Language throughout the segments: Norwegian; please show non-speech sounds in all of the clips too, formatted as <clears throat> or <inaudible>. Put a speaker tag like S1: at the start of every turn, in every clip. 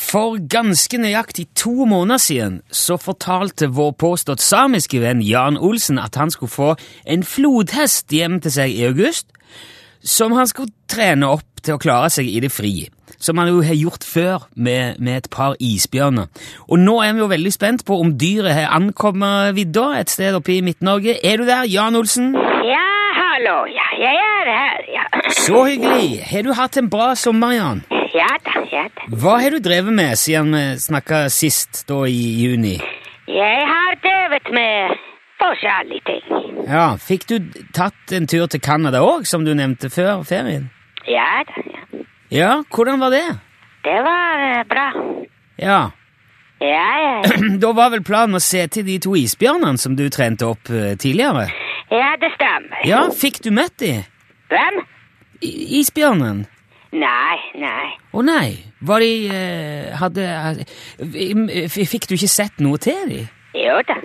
S1: For ganske nøyaktig to måneder siden så fortalte vår påstått samiske venn Jan Olsen at han skulle få en flodhest hjem til seg i august, som han skulle trene opp til å klare seg i det fri. Som han jo har gjort før med, med et par isbjørner. Og nå er vi jo veldig spent på om dyret har ankommet vidda et sted oppe i Midt-Norge. Er du der, Jan Olsen?
S2: Ja, hallo, ja, jeg er her, ja.
S1: Så hyggelig! Har du hatt en bra sommer, Jan?
S2: Ja da, ja da.
S1: Hva har du drevet med siden vi snakka sist, da i juni?
S2: Jeg har drevet med forskjellige ting.
S1: Ja, Fikk du tatt en tur til Canada òg, som du nevnte før ferien?
S2: Ja da, ja.
S1: Ja, hvordan var det?
S2: Det var eh, bra.
S1: Ja, <clears throat>
S2: Ja, ja, ja.
S1: Da var vel planen å se til de to isbjørnene som du trente opp eh, tidligere?
S2: ja det stemmer.
S1: Ja, fikk du møtt de?
S2: Hvem?
S1: I isbjørnen?
S2: Nei, nei.
S1: Å nei, var de eh, hadde eh, f- Fikk du ikke sett noe til de?
S2: Jo da.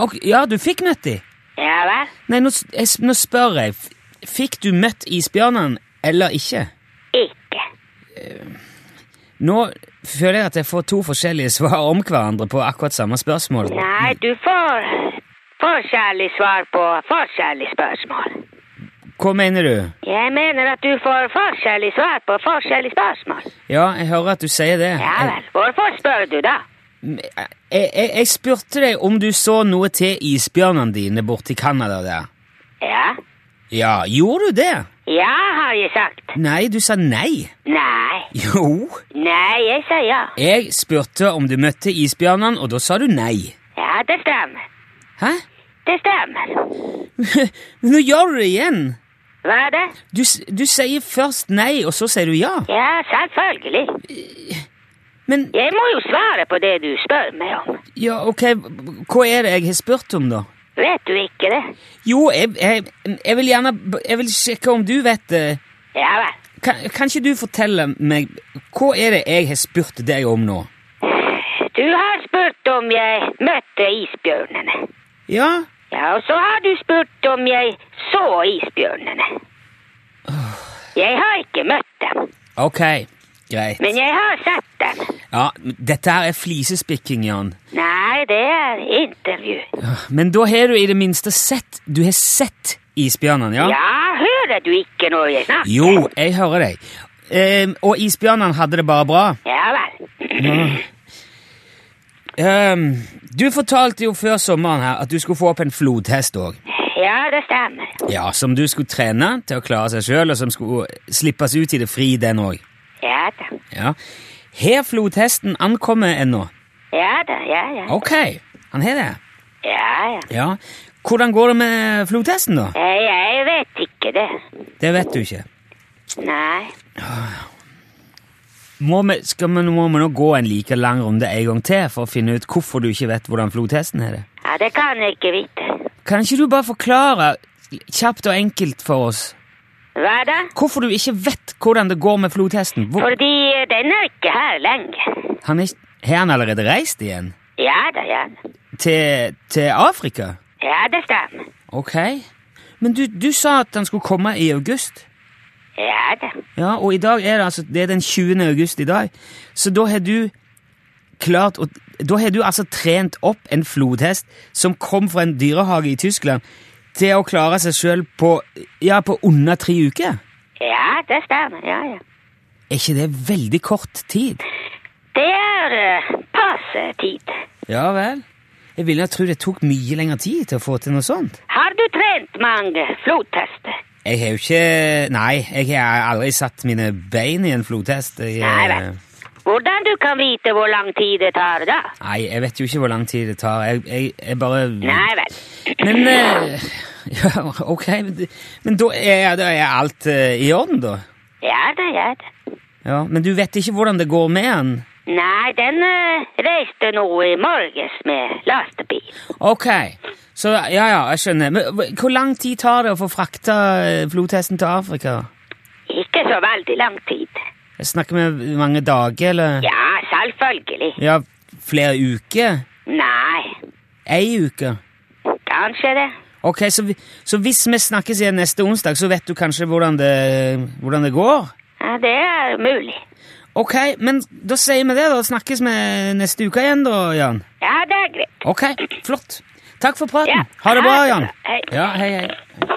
S1: Ok, ja, du fikk møtt de?
S2: Ja vel.
S1: Nei, nå, s- jeg, s- nå spør jeg. F- Fikk du møtt isbjørnene eller ikke?
S2: Ikke.
S1: Nå føler jeg at jeg får to forskjellige <laughs> svar om hverandre på akkurat samme spørsmål.
S2: Nei, du får forskjellig svar på forskjellige spørsmål.
S1: Hva mener du?
S2: Jeg mener at du får forskjellig svar på forskjellige spørsmål.
S1: Ja, jeg hører at du sier det.
S2: Ja vel. Hvorfor spør du da?
S1: Jeg, jeg, jeg, jeg spurte deg om du så noe til isbjørnene dine borti Canada der.
S2: Ja.
S1: Ja, gjorde du det?
S2: Ja, har jeg sagt.
S1: Nei, du sa nei.
S2: Nei.
S1: Jo.
S2: Nei, jeg sa ja.
S1: Jeg spurte om du møtte isbjørnene, og da sa du nei.
S2: Ja, det stemmer.
S1: Hæ?
S2: Det stemmer.
S1: Nå gjør du det igjen.
S2: Hva er det?
S1: Du, s- du sier først nei, og så sier du ja.
S2: Ja, selvfølgelig.
S1: Men
S2: Jeg må jo svare på det du spør meg om.
S1: ja, ok, hva er det jeg har spurt om, da?
S2: Vet du ikke det?
S1: Jo, jeg, jeg, jeg vil gjerne b- Jeg vil sjekke om du vet eh, det.
S2: Ja vel.
S1: Kan, kan ikke du fortelle meg Hva er det jeg har spurt deg om nå?
S2: Du har spurt om jeg møtte isbjørnene.
S1: Ja?
S2: Ja, og så har du spurt om jeg så isbjørnene. Jeg har ikke møtt dem,
S1: Ok, greit.
S2: men jeg har sett dem.
S1: Ja, men Dette her er flisespikking, Jan.
S2: Nei, det er intervju.
S1: Men da har du i det minste sett Du har sett isbjørnene, ja?
S2: Ja, hører du ikke når jeg snakker?
S1: Jo, jeg hører deg. Ehm, og isbjørnene hadde det bare bra.
S2: Ja vel.
S1: Ehm, du fortalte jo før sommeren her at du skulle få opp en flodhest òg.
S2: Ja, det stemmer.
S1: Ja, som du skulle trene til å klare seg sjøl, og som skulle slippes ut i det fri, den òg.
S2: Ja da.
S1: Ja. Har flodhesten ankommet ennå?
S2: Ja da, ja ja.
S1: Ok, han har det.
S2: Ja ja.
S1: Ja. Hvordan går det med flodhesten, da?
S2: Nei, jeg vet ikke det.
S1: Det vet du ikke.
S2: Nei.
S1: Må vi, skal vi, må vi nå gå en like lang runde en gang til for å finne ut hvorfor du ikke vet hvordan flodhesten har det?
S2: Ja, det kan jeg ikke vite.
S1: Kan ikke du bare forklare kjapt og enkelt for oss
S2: Hva da?
S1: hvorfor du ikke vet hvordan det går med flodhesten? Hvor,
S2: Fordi eh, den er ikke her lenge.
S1: han er, ikke- har han allerede reist igjen?
S2: Ja da, ja. da.
S1: Til, til Afrika?
S2: Ja, det stemmer.
S1: Ok. Men du, du sa at han skulle komme i august?
S2: Ja da.
S1: Ja, og i dag er det altså det er den 20. august i dag. Så da har du klart å Da har du altså trent opp en flodhest som kom fra en dyrehage i Tyskland, til å klare seg sjøl på Ja, på under tre uker.
S2: Ja, det stemmer. Ja, ja.
S1: Er ikke det veldig kort tid?
S2: Det er eh, passe tid.
S1: Ja vel. Jeg ville tro det tok mye lengre tid til å få til noe sånt.
S2: Har du trent mange flodhester?
S1: Jeg har jo ikke Nei, jeg har aldri satt mine bein i en flodhest. Jeg, eh,
S2: Nei vel. Hvordan du kan vite hvor lang tid det tar da?
S1: nei, jeg vet jo ikke hvor lang tid det tar. Jeg, jeg, jeg bare
S2: Nei vel.
S1: Men eh, <laughs> ja, Ok, men, det- men da, er, da er alt eh, i orden, da?
S2: Ja da, ja da.
S1: Ja, Men du vet ikke hvordan det går med han?
S2: Nei, den eh, reiste nå i morges med lastebil.
S1: Ok, så ja, ja, jeg skjønner. Men hv- hvor lang tid tar det å få frakta eh, flodhesten til Afrika?
S2: Ikke så veldig lang tid.
S1: Jeg snakker med mange dager, eller?
S2: Ja, selvfølgelig.
S1: Ja, flere uker?
S2: Nei,
S1: Ei uke?
S2: kanskje det.
S1: Ok, så, vi- så hvis vi snakkes igjen neste onsdag, så vet du kanskje hvordan det, hvordan det går?
S2: Ja, det er mulig.
S1: Ok, men da sier vi det, da. Snakkes vi neste uke igjen, da, Jan.
S2: Ja, det er greit.
S1: Ok, flott. Takk for praten.
S2: Ja.
S1: Ha det bra,
S2: Ha det
S1: Jan.
S2: bra. Hei.
S1: Ja, hei, hei.